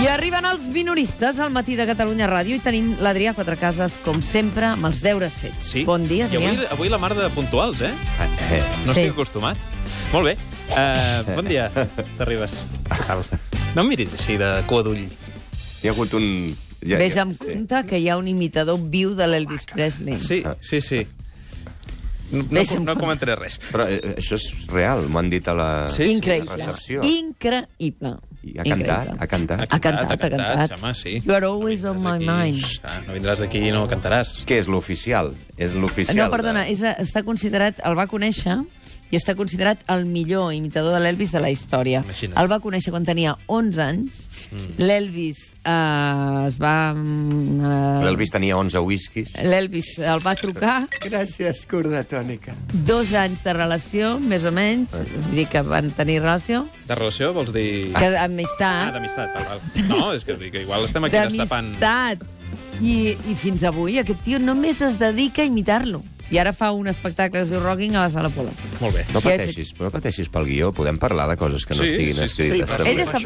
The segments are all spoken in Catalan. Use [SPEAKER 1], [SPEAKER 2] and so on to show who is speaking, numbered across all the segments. [SPEAKER 1] I arriben els minoristes al matí de Catalunya Ràdio i tenim l'Adrià Quatrecases, com sempre, amb els deures fets.
[SPEAKER 2] Sí.
[SPEAKER 1] Bon dia,
[SPEAKER 2] I
[SPEAKER 1] Adrià.
[SPEAKER 2] avui, avui la mar de puntuals, eh?
[SPEAKER 3] Eh,
[SPEAKER 2] No
[SPEAKER 1] Sí.
[SPEAKER 2] estic acostumat. Molt bé. Uh, bon dia, t'arribes. No em miris així de cua d'ull.
[SPEAKER 3] hi ha hagut un... Ja,
[SPEAKER 1] Ves
[SPEAKER 3] ja,
[SPEAKER 1] amb
[SPEAKER 3] sí. Ah,
[SPEAKER 1] compte que hi ha un imitador viu de l'Elvis Presley.
[SPEAKER 2] Sí, sí, sí. No, no,
[SPEAKER 1] Ves amb
[SPEAKER 2] no comentaré res.
[SPEAKER 3] Però eh, això és real, m'ho han dit a la,
[SPEAKER 2] Sí, sí,
[SPEAKER 3] a
[SPEAKER 1] Increïble.
[SPEAKER 3] la recepció.
[SPEAKER 1] Increïble.
[SPEAKER 3] I ha cantat, ha cantat.
[SPEAKER 1] Ha cantat, ha cantat.
[SPEAKER 2] Home, sí.
[SPEAKER 1] You are always on my mind.
[SPEAKER 2] Ah, no vindràs aquí i no cantaràs.
[SPEAKER 3] Què és l'oficial? És l'oficial.
[SPEAKER 1] Eh, No, perdona,
[SPEAKER 3] de-
[SPEAKER 1] és, està considerat, el va conèixer i està considerat el millor imitador de l'Elvis de la història.
[SPEAKER 2] Imagina't.
[SPEAKER 1] El va conèixer quan tenia 11 anys. Mm. L'Elvis eh, es va... Eh,
[SPEAKER 3] L'Elvis tenia 11 whiskies.
[SPEAKER 1] L'Elvis el va trucar.
[SPEAKER 3] Gràcies, curda tònica.
[SPEAKER 1] Dos anys de relació, més o menys. Vull dir que van tenir relació.
[SPEAKER 2] De relació vols dir...
[SPEAKER 1] Que, amistat.
[SPEAKER 2] Ah. Ah, d'amistat. val, val. No, és que, que igual estem aquí destapant...
[SPEAKER 1] d'amistat. I, I fins avui aquest tio només es dedica a imitar-lo. I ara fa un espectacle que es diu Rocking a la Sala Pola.
[SPEAKER 2] Molt bé.
[SPEAKER 3] No
[SPEAKER 1] Què he
[SPEAKER 3] pateixis, no pateixis pel guió, podem parlar de coses que no
[SPEAKER 2] Sí,
[SPEAKER 3] estiguin
[SPEAKER 2] sí, sí.
[SPEAKER 3] escrites.
[SPEAKER 4] Sí,
[SPEAKER 3] també.
[SPEAKER 1] Ell està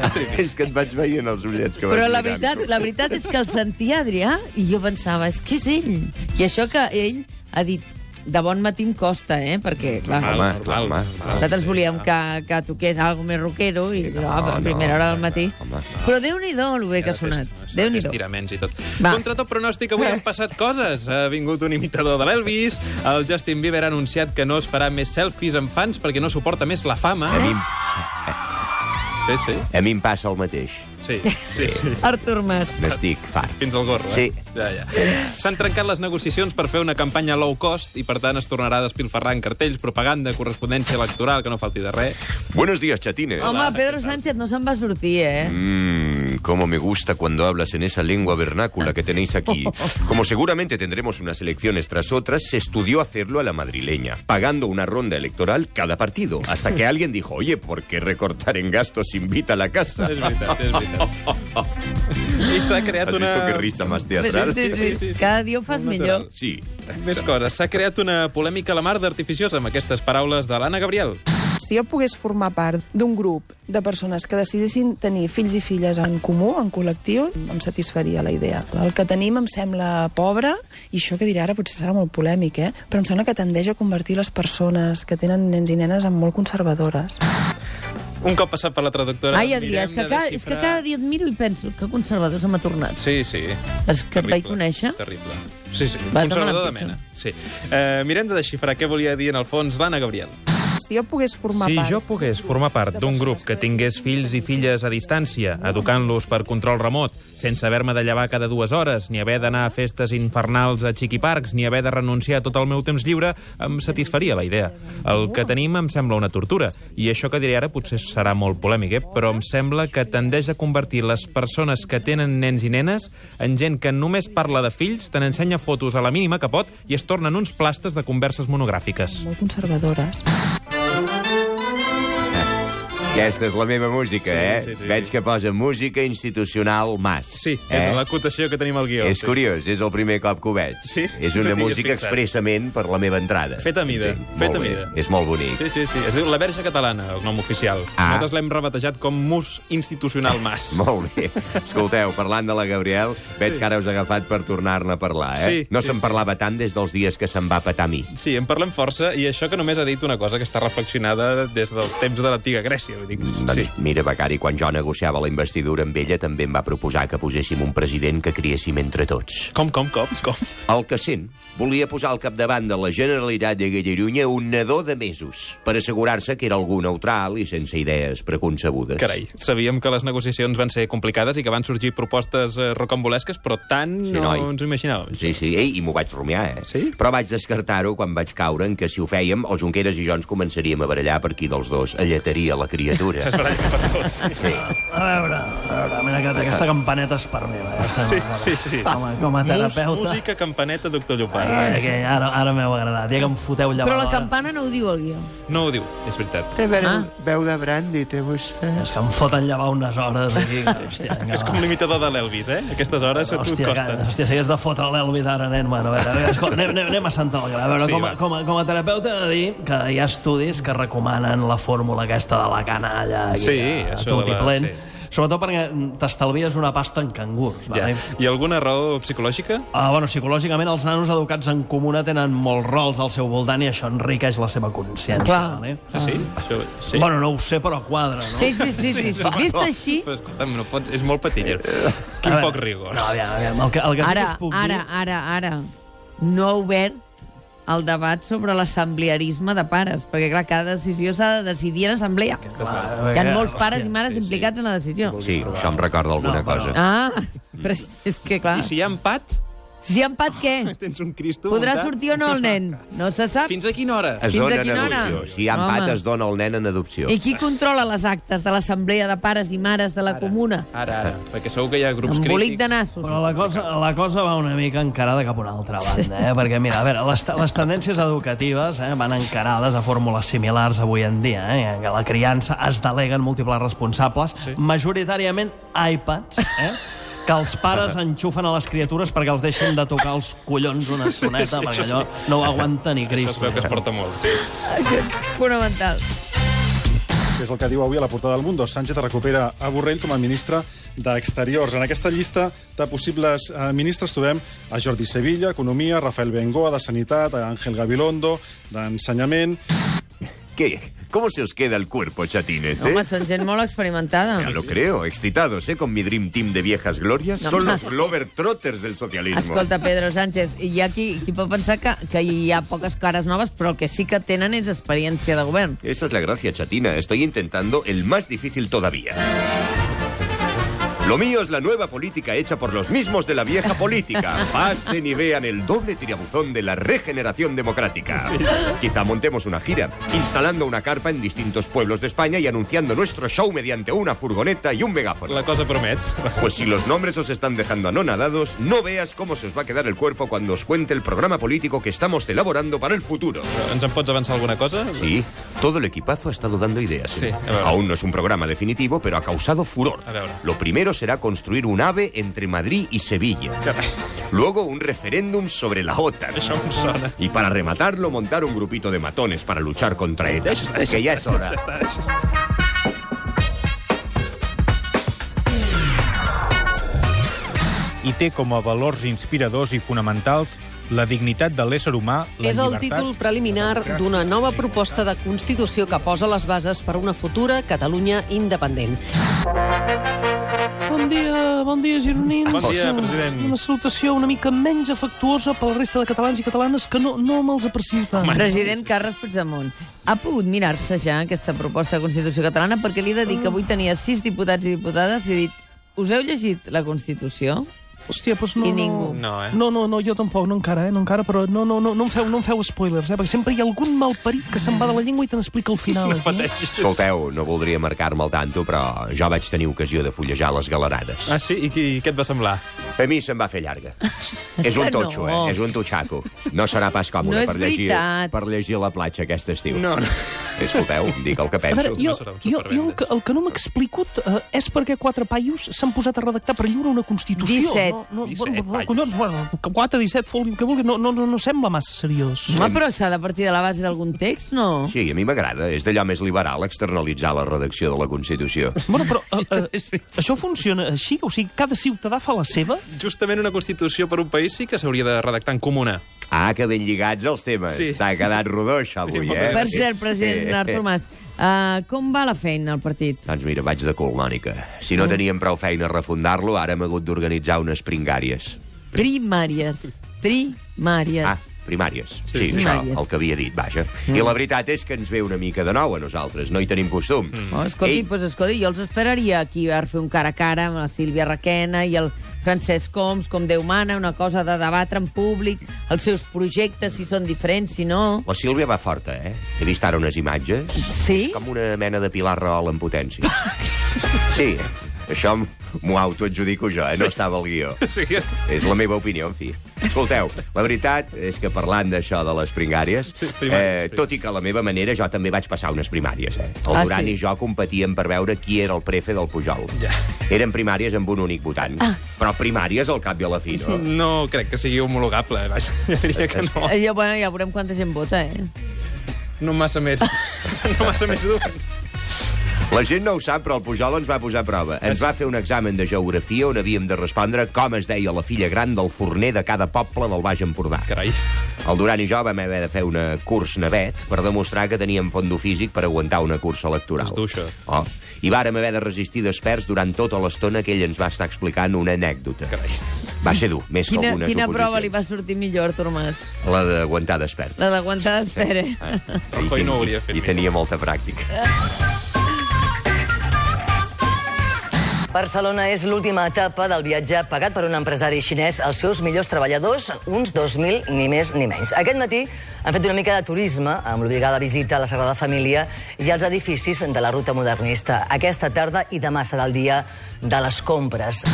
[SPEAKER 1] patint.
[SPEAKER 3] És que et vaig veient els ullets que vas
[SPEAKER 1] Però la
[SPEAKER 3] mirant.
[SPEAKER 1] veritat, la veritat és que el sentia Adrià i jo pensava, és que és ell. I això que ell ha dit, de bon matí em costa, eh? Perquè, clar,
[SPEAKER 3] Home,
[SPEAKER 2] Normal,
[SPEAKER 3] clar,
[SPEAKER 2] normal.
[SPEAKER 3] home,
[SPEAKER 1] nosaltres volíem que, que toqués algo més rockero i
[SPEAKER 3] Sí, no,
[SPEAKER 1] no, però a
[SPEAKER 3] no,
[SPEAKER 1] primera hora del
[SPEAKER 3] no,
[SPEAKER 1] matí.
[SPEAKER 3] home, no.
[SPEAKER 1] Però Déu-n'hi-do el bé que ha sonat. Déu-n'hi-do.
[SPEAKER 2] Estiraments i tot.
[SPEAKER 1] Va.
[SPEAKER 2] Va. Contra tot pronòstic, avui han passat coses. Ha vingut un imitador de l'Elvis, el Justin Bieber ha anunciat que no es farà més selfies amb fans perquè no suporta més la fama.
[SPEAKER 3] A mi,
[SPEAKER 2] Sí, sí,
[SPEAKER 3] a mi em passa el mateix.
[SPEAKER 2] sí, sí, sí.
[SPEAKER 1] Artur Mas.
[SPEAKER 3] N'estic fart.
[SPEAKER 2] Fins al gorro, eh?
[SPEAKER 3] Sí.
[SPEAKER 2] Ja, ja. S'han trencat les negociacions per fer una campanya low cost i, per tant, es tornarà a despilfarrar en cartells, propaganda, correspondència electoral, que no falti de res.
[SPEAKER 3] Buenos días, chatines.
[SPEAKER 1] Home, Pedro Sánchez no se'n va sortir, eh?
[SPEAKER 3] Mmm, cómo me gusta cuando hablas en esa lengua vernácula que tenéis aquí. Como seguramente tendremos unas elecciones tras otras, se estudió hacerlo a la madrileña, pagando una ronda electoral cada partido, hasta que alguien dijo, oye, ¿por qué recortar en gastos invita a la casa?
[SPEAKER 2] És veritat, és veritat. I s'ha creat
[SPEAKER 3] ¿Has
[SPEAKER 2] una...
[SPEAKER 3] visto qué risa más teatral?
[SPEAKER 1] Sí, sí,
[SPEAKER 2] Sí, sí,
[SPEAKER 1] sí.
[SPEAKER 2] sí.
[SPEAKER 1] Cada dia ho fas
[SPEAKER 2] Molt
[SPEAKER 1] millor.
[SPEAKER 3] Sí.
[SPEAKER 2] Més coses. S'ha creat una polèmica a la mar d'artificiosa amb aquestes paraules de l'Anna Gabriel.
[SPEAKER 5] Si jo pogués formar part d'un grup de persones que decidissin tenir fills i filles en comú, en col·lectiu, em satisfaria la idea. El que tenim em sembla pobre, i això que diré ara potser serà molt polèmic, eh? però em sembla que tendeix a convertir les persones que tenen nens i nenes en molt conservadores.
[SPEAKER 2] Un cop passat per la traductora...
[SPEAKER 1] Ai, Adrià,
[SPEAKER 2] mirem
[SPEAKER 1] és que,
[SPEAKER 2] de
[SPEAKER 1] cada, és que
[SPEAKER 2] desxifrar-
[SPEAKER 1] cada dia et miro i penso que conservadors m'ha tornat.
[SPEAKER 2] Sí, sí.
[SPEAKER 1] És que et vaig
[SPEAKER 2] Terrible,
[SPEAKER 1] conèixer.
[SPEAKER 2] Terrible. Sí, sí.
[SPEAKER 1] Vas
[SPEAKER 2] Conservador de
[SPEAKER 1] demanar
[SPEAKER 2] mena. Sí. Uh, mirem de desxifrar què volia dir en el fons l'Anna Gabriel.
[SPEAKER 5] Si jo pogués formar
[SPEAKER 6] Si
[SPEAKER 5] part...
[SPEAKER 6] jo pogués formar part d'un grup que tingués fills i filles a distància, educant-los per control remot, sense haver-me de llevar cada dues hores, ni haver d'anar a festes infernals a xiquiparcs, ni haver de renunciar a tot el meu temps lliure, em satisfaria la idea. El que tenim em sembla una tortura, i això que diré ara potser serà molt polèmic, eh? però em sembla que tendeix a convertir les persones que tenen nens i nenes en gent que només parla de fills, te n'ensenya fotos a la mínima que pot i es tornen uns plastes de converses monogràfiques.
[SPEAKER 5] Molt conservadores.
[SPEAKER 3] Aquesta és la meva música,
[SPEAKER 2] Sí,
[SPEAKER 3] eh?
[SPEAKER 2] sí, sí.
[SPEAKER 3] Veig que posa música institucional mas.
[SPEAKER 2] Sí, és
[SPEAKER 3] eh?
[SPEAKER 2] l'acotació que tenim al guió.
[SPEAKER 3] És
[SPEAKER 2] sí.
[SPEAKER 3] curiós, és el primer cop que ho veig.
[SPEAKER 2] Sí?
[SPEAKER 3] És
[SPEAKER 2] No
[SPEAKER 3] una
[SPEAKER 2] t'hi
[SPEAKER 3] música
[SPEAKER 2] has fixat.
[SPEAKER 3] expressament per la meva entrada.
[SPEAKER 2] Feta a mida,
[SPEAKER 3] molt
[SPEAKER 2] feta a
[SPEAKER 3] bé.
[SPEAKER 2] mida.
[SPEAKER 3] És molt bonic.
[SPEAKER 2] Sí, sí, sí. Es diu La Verge Catalana, el nom oficial.
[SPEAKER 3] Ah.
[SPEAKER 2] Nosaltres l'hem rebatejat com Mus Institucional Mas.
[SPEAKER 3] Molt bé. Escolteu, parlant de la Gabriel, veig que ara us ha agafat per tornar-ne a parlar, eh?
[SPEAKER 2] Sí,
[SPEAKER 3] no
[SPEAKER 2] sí,
[SPEAKER 3] se'n
[SPEAKER 2] sí.
[SPEAKER 3] parlava tant des dels dies que se'n va petar a mi.
[SPEAKER 2] Sí, en parlem força, i això que només ha dit una cosa que està reflexionada des dels temps de l'antiga Grècia. Vull dir, que
[SPEAKER 3] Doncs
[SPEAKER 2] sí.
[SPEAKER 3] mira, Becari, quan jo negociava la investidura amb ella, també em va proposar que poséssim un president que criéssim entre tots.
[SPEAKER 2] Com, com, com, com?
[SPEAKER 3] El que sent volia posar al capdavant de la Generalitat de Gallerunya un nadó de mesos per assegurar-se que era algú neutral i sense idees preconcebudes.
[SPEAKER 2] Carai, sabíem que les negociacions van ser complicades i que van sorgir propostes eh, rocambolesques, però tant
[SPEAKER 3] Sí,
[SPEAKER 2] no
[SPEAKER 3] noi.
[SPEAKER 2] ens ho imaginàvem.
[SPEAKER 3] Doncs Sí, sí, i, i m'ho vaig rumiar, eh?
[SPEAKER 2] Sí?
[SPEAKER 3] Però vaig descartar-ho quan vaig caure en que si ho fèiem, els Junqueras i jo ens començaríem a barallar per qui dels dos alletaria la criatura.
[SPEAKER 2] Es barallen per tots.
[SPEAKER 3] Sí.
[SPEAKER 7] A veure, a veure, mira, que aquesta campaneta és per mi. eh? va, Ja estem,
[SPEAKER 2] Sí,
[SPEAKER 7] a veure.
[SPEAKER 2] sí, sí.
[SPEAKER 7] Com a, com a terapeuta...
[SPEAKER 2] música, campaneta, doctor Llopart.
[SPEAKER 7] Eh, que ara, ara m'heu agradat, ja que em foteu
[SPEAKER 1] Però
[SPEAKER 7] llevadora.
[SPEAKER 1] la campana no ho diu el guió.
[SPEAKER 2] No ho diu, és veritat.
[SPEAKER 8] Té veu,
[SPEAKER 1] Ah.
[SPEAKER 8] veu de brandi, té vostè.
[SPEAKER 7] És que em foten llevar unes hores aquí. que, Hòstia, vinga,
[SPEAKER 2] És com
[SPEAKER 7] va.
[SPEAKER 2] l'imitador de l'Elvis, eh? Aquestes hores a tu et
[SPEAKER 7] Ah. Hòstia, que,
[SPEAKER 2] costen.
[SPEAKER 7] hòstia, si hagués de fotre l'Elvis ara, nen, bueno, a veure, escolta, anem, anem, anem a sentar el gra. A veure,
[SPEAKER 2] Sí,
[SPEAKER 7] com,
[SPEAKER 2] va.
[SPEAKER 7] a, com, a, com a terapeuta he de dir que hi ha estudis que recomanen la fórmula aquesta de la anar allà, aquí,
[SPEAKER 2] Sí,
[SPEAKER 7] a,
[SPEAKER 2] això de
[SPEAKER 7] a tot i
[SPEAKER 2] la-
[SPEAKER 7] plen.
[SPEAKER 2] sí.
[SPEAKER 7] Sobretot perquè t'estalvies una pasta en cangurs.
[SPEAKER 2] Ja.
[SPEAKER 7] vale?
[SPEAKER 2] I alguna raó psicològica?
[SPEAKER 7] Ah, bueno, psicològicament els nanos educats en comuna tenen molts rols al seu voltant i això enriqueix la seva consciència.
[SPEAKER 1] Clar.
[SPEAKER 7] Vale?
[SPEAKER 2] Ah, sí? Això, sí.
[SPEAKER 7] Bueno, no ho sé, però quadra, no?
[SPEAKER 1] Sí, sí, sí, sí. sí. Vist així...
[SPEAKER 2] Però escolta'm, no pots... És molt patiller.
[SPEAKER 7] Eh, A
[SPEAKER 2] Quin
[SPEAKER 7] veure,
[SPEAKER 2] poc rigor.
[SPEAKER 7] No, aviam, aviam. El que, el que sí que
[SPEAKER 1] Ara,
[SPEAKER 7] us doncs, puc
[SPEAKER 1] ara,
[SPEAKER 7] dir...
[SPEAKER 1] ara, ara, no ha obert el debat sobre l'assemblearisme de pares, perquè, clar, cada decisió s'ha de decidir en assemblea.
[SPEAKER 7] Clar, eh,
[SPEAKER 1] Hi ha
[SPEAKER 7] que-
[SPEAKER 1] molts pares
[SPEAKER 7] hòstia,
[SPEAKER 1] i mares implicats en la decisió.
[SPEAKER 3] Sí, això em recorda alguna
[SPEAKER 7] No, però-
[SPEAKER 3] cosa.
[SPEAKER 1] Ah, però és- és que, clar...
[SPEAKER 2] I si hi ha empat,
[SPEAKER 1] Si hi ha empat, què?
[SPEAKER 2] tens un Cristo...
[SPEAKER 1] Podrà
[SPEAKER 2] muntat.
[SPEAKER 1] sortir o no el nen? No se sap.
[SPEAKER 2] Fins a quina
[SPEAKER 7] Eh.
[SPEAKER 2] hora?
[SPEAKER 3] Es
[SPEAKER 1] Fins a
[SPEAKER 3] dona en
[SPEAKER 1] quina hora?
[SPEAKER 3] adopció. Si hi ha empat,
[SPEAKER 1] Home.
[SPEAKER 3] es dona el nen en adopció.
[SPEAKER 1] I qui controla les actes de l'assemblea de pares i mares de la comuna?
[SPEAKER 2] Ara, ara. Perquè segur que hi ha grups
[SPEAKER 1] Embolic
[SPEAKER 2] crítics.
[SPEAKER 1] de nassos.
[SPEAKER 7] Però la cosa, la cosa va una mica encarada cap a una altra banda, eh? Perquè, mira, a veure, les, les tendències educatives eh, van encarades a fórmules similars avui en dia, eh? En què la criança es delega en múltiples responsables, sí. majoritàriament iPads, eh? que els pares enxufen a les criatures perquè els deixen de tocar els collons una estoneta, sí, sí, perquè allò sí. no ho aguanta ni
[SPEAKER 2] Això es
[SPEAKER 7] Cristo.
[SPEAKER 2] veu que es porta molt, sí.
[SPEAKER 1] Això és Fonamental.
[SPEAKER 4] que és el que diu avui a la portada del Mundo. Sánchez recupera a Borrell com a ministre d'Exteriors. En aquesta llista de possibles eh, ministres trobem a Jordi Sevilla, Economia, Rafael Bengoa, de Sanitat, a Ángel Gabilondo, d'Ensenyament...
[SPEAKER 3] ¿Qué? ¿Cómo se os queda el cuerpo, chatines, eh?
[SPEAKER 1] Home, són gent molt experimentada.
[SPEAKER 3] Ya lo creo, excitados, ¿eh? Con mi Dream Team de viejas glorias.
[SPEAKER 1] No,
[SPEAKER 3] Son
[SPEAKER 1] ma-
[SPEAKER 3] los Glover Trotters del socialismo.
[SPEAKER 1] Escolta, Pedro Sánchez, hi ha qui, qui pot pensar que, que hi ha poques cares noves, però el que sí que tenen és experiència de govern.
[SPEAKER 3] Esa es la gracia, chatina. Estoy intentando el más difícil todavía. Lo mío es la nueva política hecha por los mismos de la vieja política. Pasen y vean el doble tirabuzón de la regeneración democrática. Quizá montemos una gira, instalando una carpa en distintos pueblos de España y anunciando nuestro show mediante una furgoneta y un megáfono.
[SPEAKER 2] La cosa promet.
[SPEAKER 3] Pues si los nombres os están dejando anonadados, no veas cómo se os va a quedar el cuerpo cuando os cuente el programa político que estamos elaborando para el futuro.
[SPEAKER 2] Ens en pots avançar alguna cosa?
[SPEAKER 3] Sí, todo el equipazo ha estado dando ideas.
[SPEAKER 2] Sí, a ver.
[SPEAKER 3] Aún no es un programa definitivo, pero ha causado furor.
[SPEAKER 2] A ver.
[SPEAKER 3] Lo primero será construir un AVE entre Madrid y Sevilla. Luego un referéndum sobre la OTAN.
[SPEAKER 2] Això em sona.
[SPEAKER 3] Y para rematarlo, montar un grupito de matones para luchar contra ETA. que ya es hora.
[SPEAKER 9] i té com a valors inspiradors i fonamentals la dignitat de l'ésser humà, la
[SPEAKER 10] És el
[SPEAKER 9] llibertat,
[SPEAKER 10] títol
[SPEAKER 9] la
[SPEAKER 10] preliminar
[SPEAKER 9] democràcia,
[SPEAKER 10] d'una nova proposta de Constitució que posa les bases per una futura Catalunya independent.
[SPEAKER 7] Bon dia, bon dia, gironins.
[SPEAKER 2] Bon dia, president.
[SPEAKER 7] Una salutació una mica menys afectuosa per la resta de catalans i catalanes que no, no me'ls aprecio tant.
[SPEAKER 1] President Carles Puigdemont, ha pogut mirar-se ja aquesta proposta de Constitució catalana perquè li he de dir que avui tenia sis diputats i diputades i he dit, us heu llegit la Constitució?
[SPEAKER 7] Hòstia, doncs no,
[SPEAKER 1] I ningú.
[SPEAKER 7] No,
[SPEAKER 2] No, eh?
[SPEAKER 7] no, no, no, jo tampoc, no encara, eh? No encara, però no, no, no, no, em feu, no em feu spoilers, eh? Perquè sempre hi ha algun malparit que se'n va de la llengua i te n'explica el final. No eh?
[SPEAKER 3] Escolteu, no voldria marcar-me al tanto, però jo vaig tenir ocasió de fullejar les galerades.
[SPEAKER 2] Ah, sí? I qui, què et va semblar?
[SPEAKER 3] A mi se'm va fer llarga. És un
[SPEAKER 1] Que no.
[SPEAKER 3] totxo, eh? És un totxaco. No serà pas còmode
[SPEAKER 1] No és
[SPEAKER 3] per, llegir,
[SPEAKER 1] veritat.
[SPEAKER 3] per llegir a la platja aquest estiu.
[SPEAKER 2] No, no.
[SPEAKER 3] Escolteu, dic el que
[SPEAKER 7] A veure,
[SPEAKER 3] penso.
[SPEAKER 7] jo,
[SPEAKER 2] no serà un
[SPEAKER 7] jo, jo el,
[SPEAKER 2] supervendes.
[SPEAKER 7] que, el que no m'he explicat eh, és perquè quatre paios s'han posat a redactar per lliure una Constitució.
[SPEAKER 1] 17.
[SPEAKER 7] No, no,
[SPEAKER 2] 17
[SPEAKER 7] bueno,
[SPEAKER 2] paios.
[SPEAKER 7] collons, bueno, 4, 17, foli, el que vulgui, no, no, no, no sembla massa seriós.
[SPEAKER 1] Home, però s'ha de partir de la base d'algun text, no?
[SPEAKER 3] Sí, a mi m'agrada. És d'allò més liberal externalitzar la redacció de la Constitució.
[SPEAKER 7] Bueno, però eh, eh, això funciona així? O sigui, cada ciutadà fa la seva?
[SPEAKER 2] Justament una constitució per un país sí que s'hauria de redactar en comuna.
[SPEAKER 3] Ah, que ben lligats els temes.
[SPEAKER 2] Sí.
[SPEAKER 3] Sí. T'ha quedat rodó, això, avui,
[SPEAKER 2] Sí,
[SPEAKER 3] eh?
[SPEAKER 1] Per cert, president Artur Mas, uh, com va la feina al partit?
[SPEAKER 3] Doncs mira, vaig de colònica. Si
[SPEAKER 1] Mm.
[SPEAKER 3] no teníem prou feina a refundar-lo, ara hem hagut d'organitzar unes pringàries.
[SPEAKER 1] Primàries. Primàries.
[SPEAKER 3] Ah, primàries. Sí, sí, això,
[SPEAKER 1] primàries.
[SPEAKER 3] el que havia dit, vaja. I la veritat és que ens ve una mica de nou a nosaltres, no hi tenim costum. Mm.
[SPEAKER 1] Oh, escolti, Ei. pues, escolti, jo els esperaria aquí a fer un cara a cara amb la Sílvia Requena i el Francesc Coms, com Déu mana, una cosa de debatre en públic, els seus projectes, si són diferents, si no...
[SPEAKER 3] La Sílvia va forta, eh? He vist ara unes imatges.
[SPEAKER 1] Sí?
[SPEAKER 3] Com una mena de Pilar Rahola en potència. Sí, això m- m'ho autoadjudico jo, eh? No estava al guió.
[SPEAKER 2] Sí.
[SPEAKER 3] És la meva opinió, en fi. Escolteu, la veritat és que parlant d'això de les pringàries,
[SPEAKER 2] Sí, primàries, primàries.
[SPEAKER 3] tot i que a la meva manera jo també vaig passar unes primàries, eh? El
[SPEAKER 1] Ah,
[SPEAKER 3] Duran
[SPEAKER 1] sí?
[SPEAKER 3] i jo competíem per veure qui era el prefe del Pujol. Ja. Eren primàries amb un únic votant. Ah. Però primàries al cap i a la fi,
[SPEAKER 7] Oh.
[SPEAKER 3] no?
[SPEAKER 2] No crec que sigui homologable, vaja. Jo diria que no.
[SPEAKER 1] Eh, Ja, bueno, ja veurem quanta gent vota, eh?
[SPEAKER 2] No massa més. No massa més dur.
[SPEAKER 3] La gent no ho sap, però el Pujol ens va posar a prova. Ens va fer un examen de geografia on havíem de respondre com es deia la filla gran del forner de cada poble del Baix Empordà.
[SPEAKER 2] Carai.
[SPEAKER 3] El Duran i jo vam haver de fer una curs navet per demostrar que teníem fondo físic per aguantar una cursa electoral.
[SPEAKER 2] És dur, això.
[SPEAKER 3] Oh. I vàrem haver de resistir desperts durant tota l'estona que ell ens va estar explicant una anècdota.
[SPEAKER 2] Carai.
[SPEAKER 3] Va ser dur, més que
[SPEAKER 1] Quina,
[SPEAKER 3] algunes
[SPEAKER 1] quina prova li
[SPEAKER 3] oposicions.
[SPEAKER 1] va sortir millor, Artur Mas?
[SPEAKER 3] La d'aguantar despert.
[SPEAKER 1] La d'aguantar d'espera.
[SPEAKER 3] Eh?
[SPEAKER 2] Rajoy
[SPEAKER 3] I
[SPEAKER 2] no
[SPEAKER 3] ten-
[SPEAKER 2] ho hauria fet
[SPEAKER 3] I tenia molta pràctica.
[SPEAKER 11] Barcelona és l'última etapa del viatge pagat per un empresari xinès als seus millors treballadors, uns 2.000, ni més ni menys. Aquest matí han fet una mica de turisme, amb l'obligada visita a la Sagrada Família i als edificis de la ruta modernista. Aquesta tarda i demà serà el dia de les compres.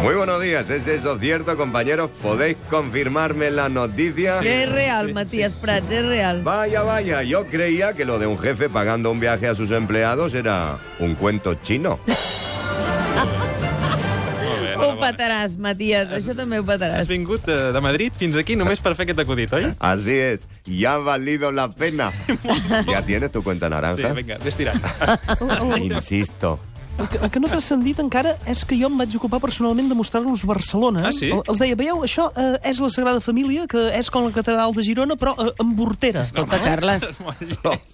[SPEAKER 3] Muy buenos días, ¿es eso cierto, compañeros? ¿Podéis confirmarme la noticia?
[SPEAKER 1] És real, Matías Prats, és real.
[SPEAKER 3] Vaya, vaya, yo creía que lo de un jefe pagando un viaje a sus empleados era un cuento chino.
[SPEAKER 2] Molt
[SPEAKER 1] Ho
[SPEAKER 2] bé, enhorabona.
[SPEAKER 1] petaràs, Matías, això també ho
[SPEAKER 2] Has
[SPEAKER 1] petaràs.
[SPEAKER 2] vingut eh, de, de Madrid fins aquí només per fer aquest acudit, oi?
[SPEAKER 3] Así es, ya ha valido la pena. ¿Ya tienes tu cuenta
[SPEAKER 2] Sí,
[SPEAKER 3] naranja?
[SPEAKER 2] vinga, ves tirant.
[SPEAKER 3] Insisto.
[SPEAKER 7] El que, el que no t'ha sentit encara és que jo em vaig ocupar personalment de mostrar-los Barcelona. eh?
[SPEAKER 2] Ah, sí?
[SPEAKER 7] El- Els deia, veieu, això eh, és la Sagrada Família, que és com la Catedral de Girona, però eh, amb vortera.
[SPEAKER 1] Escolta, Carles,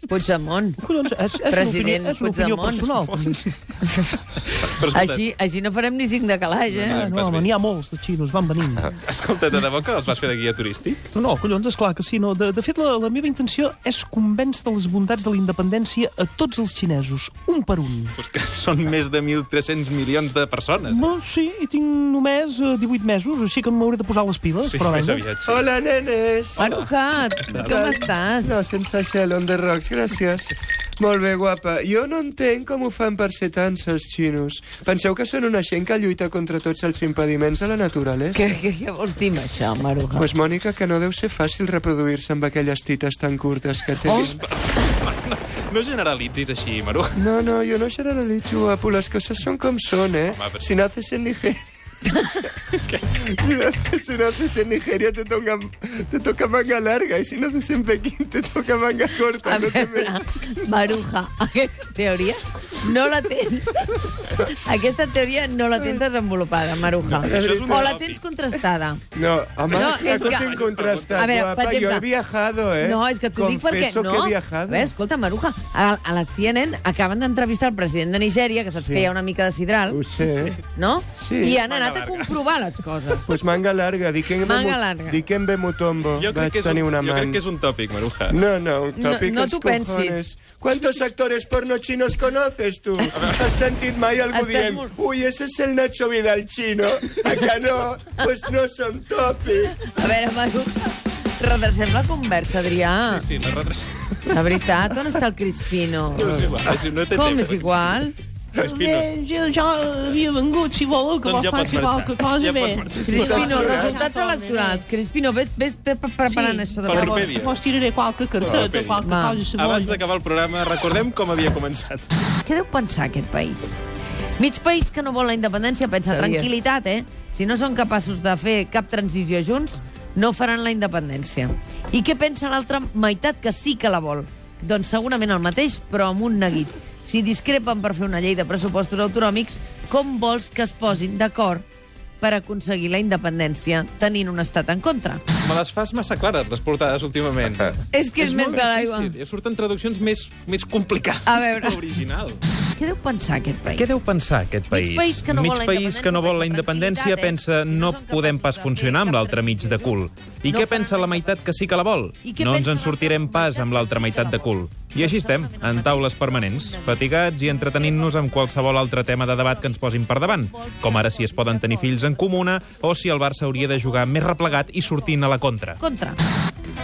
[SPEAKER 1] Puigdemont.
[SPEAKER 7] Collons, és, és
[SPEAKER 1] President
[SPEAKER 7] una opinió, és una opinió
[SPEAKER 1] Puigdemont.
[SPEAKER 7] personal.
[SPEAKER 2] Però escolta,
[SPEAKER 1] Així, així no farem ni cinc de calaix, eh?
[SPEAKER 7] Ah,
[SPEAKER 2] Em
[SPEAKER 7] no,
[SPEAKER 2] fas
[SPEAKER 7] home,
[SPEAKER 2] bé.
[SPEAKER 7] n'hi ha molts de xinos, van venint.
[SPEAKER 2] Ah. escolta, de debò que els vas fer de guia turístic?
[SPEAKER 7] No, collons, és clar que sí. No. De, de fet, la, la meva intenció és convèncer de les bondats de la independència a tots els xinesos, un per un.
[SPEAKER 2] Pues que són més de 1.300 milions de persones.
[SPEAKER 7] Bueno, sí, i tinc només eh, 18 mesos, així que m'hauré de posar les piles.
[SPEAKER 2] Sí,
[SPEAKER 7] però,
[SPEAKER 2] més
[SPEAKER 7] vinga.
[SPEAKER 2] aviat. Sí.
[SPEAKER 8] Hola, nenes.
[SPEAKER 1] Arucat, com estàs?
[SPEAKER 8] No, sense gel, on the rocks, gràcies. Molt bé, guapa. Jo no entenc com ho fan per ser tants els xinos. Penseu que són una gent que lluita contra tots els impediments de la naturalesa?
[SPEAKER 1] Què, què, què vols dir amb això, Maruja?
[SPEAKER 8] Pues, Mònica, que no deu ser fàcil reproduir-se amb aquelles tites tan curtes que tens. Oh.
[SPEAKER 2] No generalitzis així, Maru.
[SPEAKER 8] No, no, jo no generalitzo, guapo. Les coses són com són, eh?
[SPEAKER 2] Home, però-
[SPEAKER 8] Si naces en Nigeria... si, naces, si naces en Nigeria te toca, te toca manga larga y si naces en Pekín te toca manga corta.
[SPEAKER 1] A
[SPEAKER 8] No te
[SPEAKER 1] veure, Maruja, aquesta teoria no la tens. Aquesta teoria no la tens desenvolupada, Maruja.
[SPEAKER 2] Això és un
[SPEAKER 1] O la
[SPEAKER 2] negoci.
[SPEAKER 1] tens contrastada.
[SPEAKER 8] No, home,
[SPEAKER 1] No,
[SPEAKER 8] no,
[SPEAKER 1] és
[SPEAKER 8] és
[SPEAKER 1] que-
[SPEAKER 8] que... contrastat,
[SPEAKER 1] A veure, per
[SPEAKER 8] guapa.
[SPEAKER 1] exemple-
[SPEAKER 8] Jo he viajado, eh?
[SPEAKER 1] No, és que t'ho dic perquè...
[SPEAKER 8] Confeso
[SPEAKER 1] no.
[SPEAKER 8] que he viajado.
[SPEAKER 1] Bé, escolta, Maruja, a, a la CNN acaben d'entrevistar el president de Nigèria, que saps sí. que hi ha una mica de sidral,
[SPEAKER 8] Ho sé. Sí.
[SPEAKER 1] no?
[SPEAKER 8] Sí.
[SPEAKER 1] I han
[SPEAKER 2] Manga
[SPEAKER 1] anat a
[SPEAKER 2] larga.
[SPEAKER 1] comprovar les coses.
[SPEAKER 8] Pues manga larga, dicen
[SPEAKER 1] Manga larga.
[SPEAKER 8] Dicen Bemutombo.
[SPEAKER 2] Jo crec,
[SPEAKER 8] Vaig
[SPEAKER 2] que és un,
[SPEAKER 8] tenir una
[SPEAKER 2] jo crec
[SPEAKER 8] man.
[SPEAKER 2] que és un tòpic, Maruja.
[SPEAKER 8] No, no, un
[SPEAKER 1] No-
[SPEAKER 8] tòpic
[SPEAKER 1] no
[SPEAKER 8] els
[SPEAKER 1] t'ho pensis.
[SPEAKER 8] cojones. ¿Cuántos actores porno chinos conoces tú? ¿Has sentido mai algú
[SPEAKER 1] Estàs
[SPEAKER 8] dient
[SPEAKER 1] molt-
[SPEAKER 8] Uy, ese es el Nacho Vidal chino? A que no? Pues no són tòpics.
[SPEAKER 1] A veure, Maruja, redrecem la conversa, Adrià.
[SPEAKER 2] Sí, sí, la retrasa.
[SPEAKER 1] La veritat, on està el Crispino?
[SPEAKER 2] No, és igual, és- no té
[SPEAKER 1] Com
[SPEAKER 2] temps.
[SPEAKER 1] és igual?
[SPEAKER 2] Espino.
[SPEAKER 7] Bé, jo, jo havia vengut, si voleu, que
[SPEAKER 2] Doncs ja
[SPEAKER 7] me
[SPEAKER 2] pots
[SPEAKER 7] faci
[SPEAKER 2] marxar.
[SPEAKER 7] qualque cosa
[SPEAKER 2] Ja
[SPEAKER 7] bé.
[SPEAKER 2] pots marxar.
[SPEAKER 1] Crispino,
[SPEAKER 8] sí.
[SPEAKER 1] resultats electorals. Crispino, vés, vés pre- pre- preparant això de
[SPEAKER 2] Per
[SPEAKER 1] veritat.
[SPEAKER 2] Wikipedia.
[SPEAKER 7] Vos tiraré qualque carteta,
[SPEAKER 2] Wikipedia.
[SPEAKER 7] qualque
[SPEAKER 1] Va.
[SPEAKER 7] cosa
[SPEAKER 2] Abans
[SPEAKER 7] saborosa.
[SPEAKER 2] d'acabar el programa, recordem com havia començat.
[SPEAKER 1] Què deu pensar aquest país? Mig país que no vol la independència pensa tranquil·litat, eh? Si no són capaços de fer cap transició junts, no faran la independència. I què pensa l'altra meitat que sí que la vol? Doncs segurament el mateix, però amb un neguit. Si discrepen per fer una llei de pressupostos autonòmics, com vols que es posin d'acord per aconseguir la independència tenint un estat en contra?
[SPEAKER 2] Me les fas massa clares, les portades, últimament.
[SPEAKER 1] És que és, més
[SPEAKER 2] molt
[SPEAKER 1] que l'aigua.
[SPEAKER 2] difícil. Ja surten traduccions més, més complicades
[SPEAKER 1] A veure.
[SPEAKER 2] que l'original.
[SPEAKER 1] Què deu pensar aquest país?
[SPEAKER 6] Què deu pensar aquest país?
[SPEAKER 1] Mig país que no vol la
[SPEAKER 6] país que no vol la
[SPEAKER 1] independència,
[SPEAKER 6] independència pensa
[SPEAKER 1] eh? Si
[SPEAKER 6] no
[SPEAKER 1] no són capaços
[SPEAKER 6] podem pas
[SPEAKER 1] de
[SPEAKER 6] funcionar
[SPEAKER 1] fer
[SPEAKER 6] amb
[SPEAKER 1] cap
[SPEAKER 6] l'altre mig de
[SPEAKER 1] transició
[SPEAKER 6] cul. I
[SPEAKER 1] no
[SPEAKER 6] què
[SPEAKER 1] faran
[SPEAKER 6] pensa la
[SPEAKER 1] la
[SPEAKER 6] meitat que sí que la vol?
[SPEAKER 1] I què
[SPEAKER 6] No ens
[SPEAKER 1] pensa
[SPEAKER 6] en
[SPEAKER 1] l'altra
[SPEAKER 6] sortirem pas
[SPEAKER 1] meitat
[SPEAKER 6] amb
[SPEAKER 1] que
[SPEAKER 6] l'altra
[SPEAKER 1] sí que
[SPEAKER 6] meitat
[SPEAKER 1] la
[SPEAKER 6] de
[SPEAKER 1] vol?
[SPEAKER 6] cul. I així estem, en taules permanents, fatigats i entretenint-nos amb qualsevol altre tema de debat que ens posin per davant, com ara si es poden tenir fills en comuna o si el Barça hauria de jugar més replegat i sortint a la contra.
[SPEAKER 1] Contra.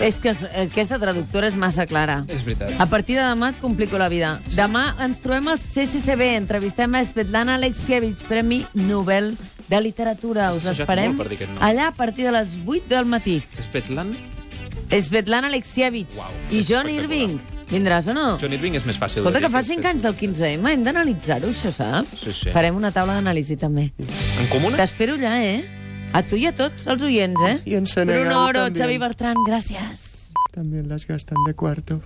[SPEAKER 1] És que es- aquesta traductora és massa clara.
[SPEAKER 2] És veritat.
[SPEAKER 1] A partir de demà et complico la vida. Demà ens trobem al CCCB, entrevistem a Svetlana Alexievich, Premi Nobel de Literatura. Us
[SPEAKER 2] Has assajat
[SPEAKER 1] esperem
[SPEAKER 2] molt per dir aquest nom.
[SPEAKER 1] allà a partir de les 8 del matí.
[SPEAKER 2] Svetlana?
[SPEAKER 1] Svetlana Alexievich
[SPEAKER 2] Uau,
[SPEAKER 1] i
[SPEAKER 2] és
[SPEAKER 1] John
[SPEAKER 2] espectacular.
[SPEAKER 1] Irving. Vindràs o no?
[SPEAKER 2] John Irving és més fàcil.
[SPEAKER 1] Escolta,
[SPEAKER 2] de
[SPEAKER 1] que
[SPEAKER 2] dir
[SPEAKER 1] fa 5 anys del 15M, hem d'analitzar-ho, això, saps?
[SPEAKER 2] Sí, sí.
[SPEAKER 1] Farem una taula d'anàlisi, també.
[SPEAKER 2] En comuna?
[SPEAKER 1] T'espero allà, eh? A tu i a tots els oients, eh?
[SPEAKER 8] I en Senegal
[SPEAKER 1] Bruno Oro,
[SPEAKER 8] també.
[SPEAKER 1] Xavi Bertran, gràcies.
[SPEAKER 8] També les gasten de quarto.